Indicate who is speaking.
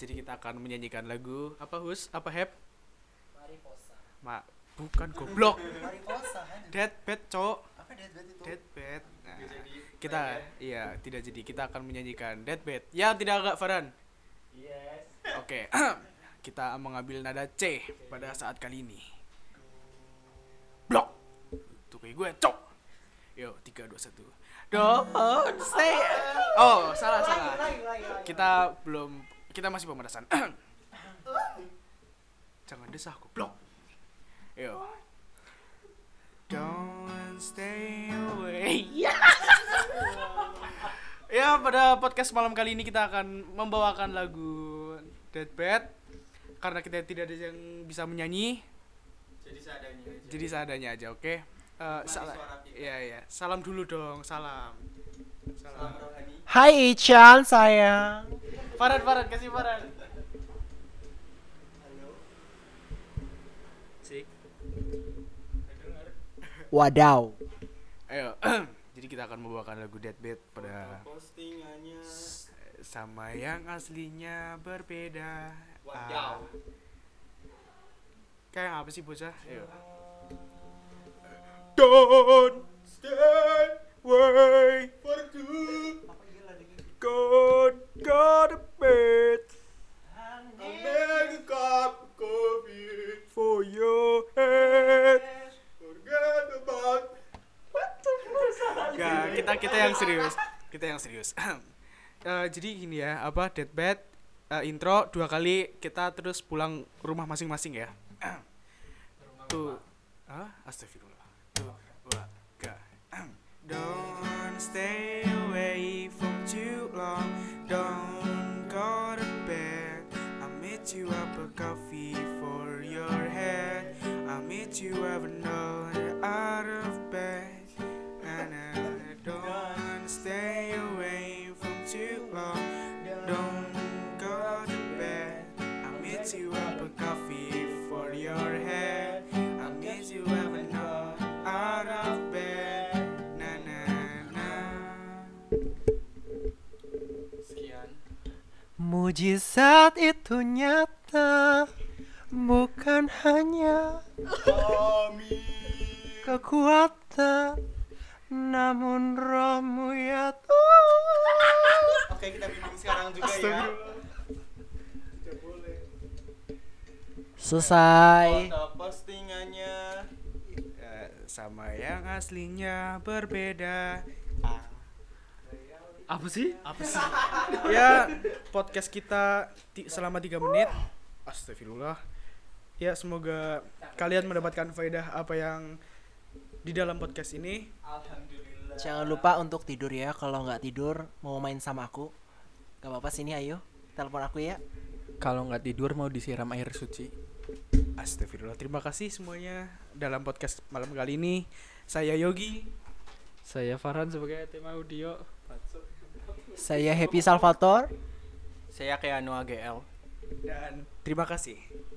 Speaker 1: Jadi kita akan menyanyikan lagu apa Hus? Apa Hep?
Speaker 2: Mariposa.
Speaker 1: Ma, bukan goblok.
Speaker 2: Mariposa kan?
Speaker 1: Deathbed, Cok.
Speaker 2: Apa deadbed itu?
Speaker 1: Deathbed. Nah,
Speaker 3: Nggak jadi ya.
Speaker 1: kita
Speaker 3: tag
Speaker 1: iya, tidak jadi. Kita akan menyanyikan Deathbed. Ya, tidak agak Farhan.
Speaker 3: Yes.
Speaker 1: Oke. kita mengambil nada C pada saat kali ini. Blok. Itu kayak gue, Cok. Yo, 3 2 1. Don't say Oh, salah salah. Kita belum kita masih pemanasan. Jangan desah goblok. Yo. Don't stay away. ya, pada podcast malam kali ini kita akan membawakan lagu Deathbed karena kita tidak ada yang bisa menyanyi,
Speaker 3: Jadi seadanya. aja.
Speaker 1: jadi seadanya aja, oke? Eh, salam.
Speaker 3: suara kita.
Speaker 1: Iya, iya. Salam dulu dong, salam.
Speaker 3: salam rohani.
Speaker 2: Hai Chan sayang.
Speaker 1: Farhan, Farhan, kasih Farhan.
Speaker 3: Halo.
Speaker 1: Sik.
Speaker 3: Kedengar?
Speaker 2: Wadaw.
Speaker 1: Ayo. jadi kita akan membawakan lagu Deathbed
Speaker 2: Nah.
Speaker 1: pada
Speaker 3: Postingannya.
Speaker 1: sama yang aslinya berbeda. Ah,
Speaker 3: Wadaw.
Speaker 1: kayak apa sih bocah? Ayo.
Speaker 3: Don't stay away for too
Speaker 1: God, God bed
Speaker 3: I'll make a cup of coffee.
Speaker 1: for your head.
Speaker 3: Forget about
Speaker 1: Gak, kita kita yang serius. Kita yang serius. Eh, jadi gini ya, apa Deathbed eh, intro dua kali kita terus pulang rumah masing-masing ya. Tuh. Hah? Astagfirullah. Tuh. Wah, gak. Don't stay away from too long. Don't go to bed. I'll meet you up a coffee for your head. I'll meet you every night out of bed. And I don't stay away from too long. Don't go to bed. I'll meet you up a coffee for your head. I'll meet you every night out of bed. Na na na.
Speaker 3: Sekian.
Speaker 2: Mujizat itu nyata, bukan hanya
Speaker 3: Kami
Speaker 2: kekuatan, namun rohmu ya Tuhan.
Speaker 3: Oke, kita bimbing sekarang juga ya. Tidak boleh.
Speaker 2: Selesai.
Speaker 3: Foto postingannya.
Speaker 1: Eh, sama yang aslinya berbeda. Apa sih? Apa sih? ya podcast kita ti- selama 3 menit. Astagfirullah. Ya semoga kalian mendapatkan faedah apa yang di dalam podcast ini.
Speaker 3: Alhamdulillah.
Speaker 2: Jangan lupa untuk tidur ya. Kalau nggak tidur mau main sama aku, gak apa-apa sini ayo. Telepon aku ya.
Speaker 4: Kalau nggak tidur mau disiram air suci.
Speaker 1: Astagfirullah. Terima kasih semuanya dalam podcast malam kali ini. Saya Yogi.
Speaker 4: Saya Farhan sebagai tim audio.
Speaker 2: Saya Happy Salvator.
Speaker 3: Saya Keanu AGL.
Speaker 1: dan terima kasih.